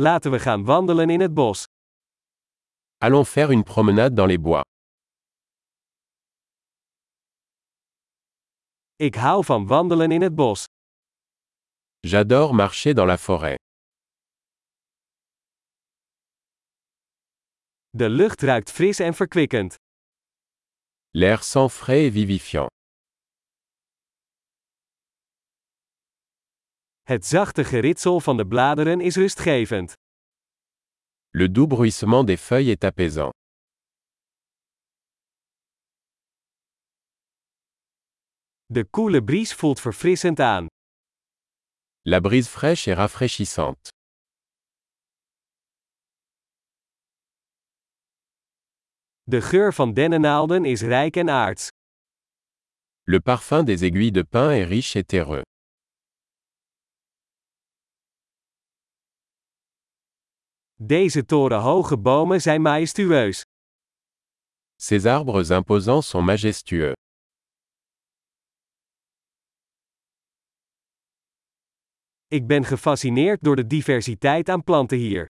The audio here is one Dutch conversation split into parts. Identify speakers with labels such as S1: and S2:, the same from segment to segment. S1: Laten we gaan wandelen in het bos.
S2: Allons faire une promenade dans les bois.
S1: Ik hou van wandelen in het bos.
S2: J'adore marcher dans la forêt.
S1: De lucht ruikt fris en verkwikkend.
S2: L'air sent frais et vivifiant.
S1: Het zachte geritsel van de bladeren is rustgevend.
S2: Le doux bruissement des feuilles est apaisant.
S1: De koele bries voelt verfrissend aan.
S2: La brise fraîche est rafraîchissante.
S1: De geur van dennennaalden is rijk en aards.
S2: Le parfum des aiguilles de pin est riche et terreux.
S1: Deze torenhoge bomen zijn majestueus.
S2: Ces arbres imposants sont majestueux.
S1: Ik ben gefascineerd door de diversiteit aan planten hier.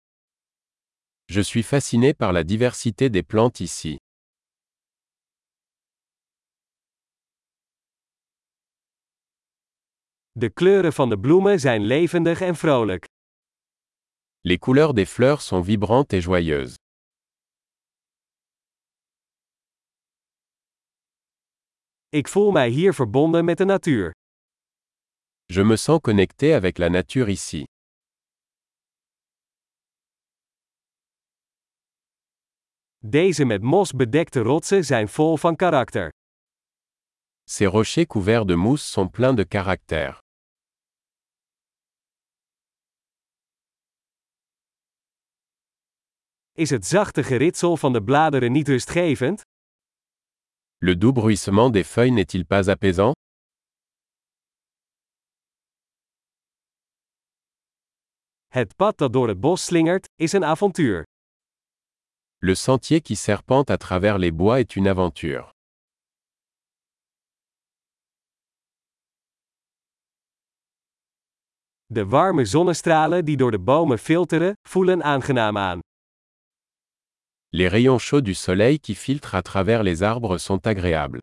S2: Je suis fasciné par la diversité des plantes ici.
S1: De kleuren van de bloemen zijn levendig en vrolijk.
S2: Les couleurs des fleurs sont vibrantes et joyeuses.
S1: Ik voel mij hier verbonden met de natuur.
S2: Je me sens connecté avec la nature ici.
S1: Deze met mos bedekte rotsen zijn vol van karakter.
S2: Ces rochers couverts de mousse sont pleins de caractère.
S1: Is het zachte geritsel van de bladeren niet rustgevend?
S2: Le doux bruissement des feuilles n'est-il pas apaisant
S1: Het pad dat door het bos slingert, is een avontuur.
S2: Le sentier qui serpente à travers les bois est une aventure.
S1: De warme zonnestralen die door de bomen filteren, voelen aangenaam aan.
S2: Les rayons chauds du soleil qui filtrent à travers les arbres sont agréables.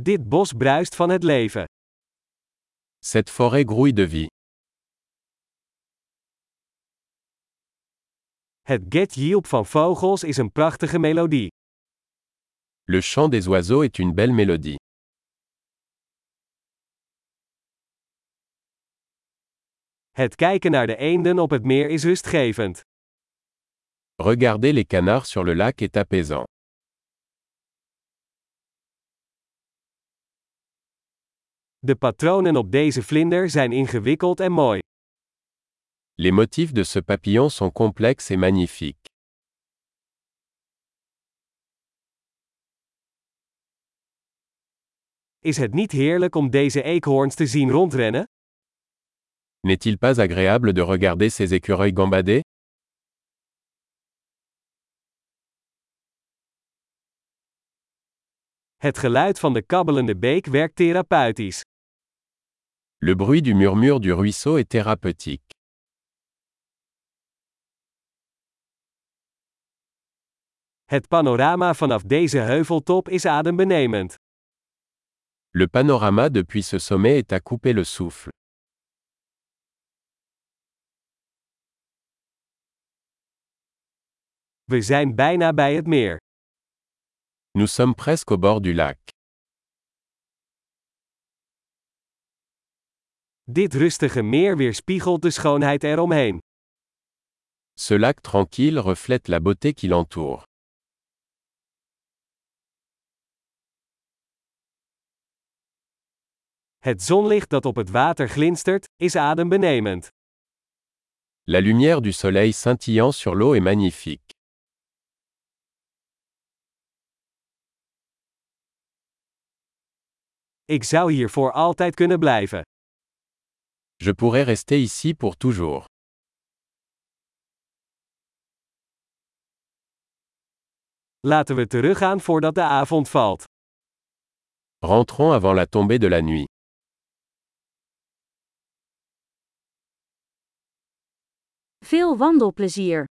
S1: Dit bos bruist van het leven.
S2: Cette forêt grouille de vie.
S1: Het get Yielp van vogels is een prachtige melodie.
S2: Le chant des oiseaux est une belle mélodie.
S1: Het kijken naar de eenden op het meer is rustgevend.
S2: Regarder les canards sur le lac est apaisant.
S1: De patronen op deze vlinder zijn ingewikkeld en mooi.
S2: Les motifs de ce papillon sont complexes et magnifiques.
S1: Is het niet heerlijk om deze eekhoorns te zien rondrennen?
S2: N'est-il pas agréable de regarder ces écureuils gambader
S1: Het geluid van de kabbelende beek werkt therapeutisch.
S2: Le bruit du murmure du ruisseau est thérapeutique.
S1: Het panorama vanaf deze heuveltop is adembenemend.
S2: Le panorama depuis ce sommet est à couper le souffle.
S1: We zijn bijna bij het meer.
S2: Nous sommes presque au bord du lac.
S1: Dit rustige meer weerspiegelt de schoonheid eromheen.
S2: Ce lac tranquille reflète la beauté qui l'entoure.
S1: Het zonlicht dat op het water glinstert, is adembenemend.
S2: La lumière du soleil scintillant sur l'eau est magnifique.
S1: Ik zou hier voor altijd kunnen blijven.
S2: Je pourrais rester ici pour toujours.
S1: Laten we teruggaan voordat de avond valt.
S2: Rentrons avant la tombée de la nuit.
S3: Veel wandelplezier!